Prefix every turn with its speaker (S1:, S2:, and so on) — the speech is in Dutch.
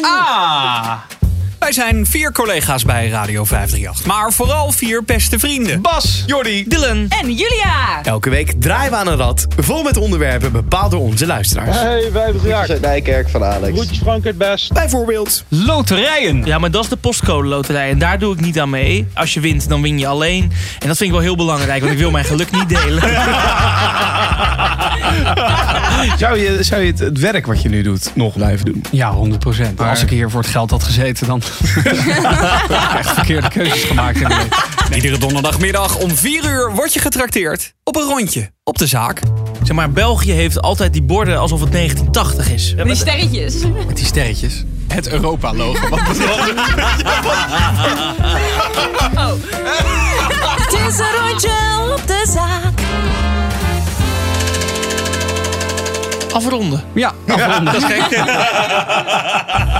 S1: Ah! Wij zijn vier collega's bij Radio 538. Maar vooral vier beste vrienden.
S2: Bas, Jordi,
S1: Dylan.
S3: En Julia!
S4: Elke week draaien we aan een rad, vol met onderwerpen bepaald door onze luisteraars.
S1: Eh.
S5: Hey, wij bedragen.
S6: Uit Nijkerk van Alex.
S5: Broertjes Frank het best.
S4: Bijvoorbeeld,
S2: loterijen.
S7: Ja, maar dat is de postcode loterij en daar doe ik niet aan mee. Als je wint, dan win je alleen. En dat vind ik wel heel belangrijk, want ik wil mijn geluk niet delen.
S4: zou je, zou je het, het werk wat je nu doet nog blijven doen?
S1: Ja, 100 procent. Als ik hier voor het geld had gezeten, dan echt verkeerde keuzes gemaakt. Iedere donderdagmiddag om 4 uur word je getrakteerd op een rondje op de zaak.
S7: Zeg maar, België heeft altijd die borden alsof het 1980 is.
S3: Die sterretjes.
S1: Met die sterretjes. Het Europa-logo.
S3: Het is een rondje op de zaak.
S7: Afronden.
S1: Ja, afronden.
S7: Dat is gek.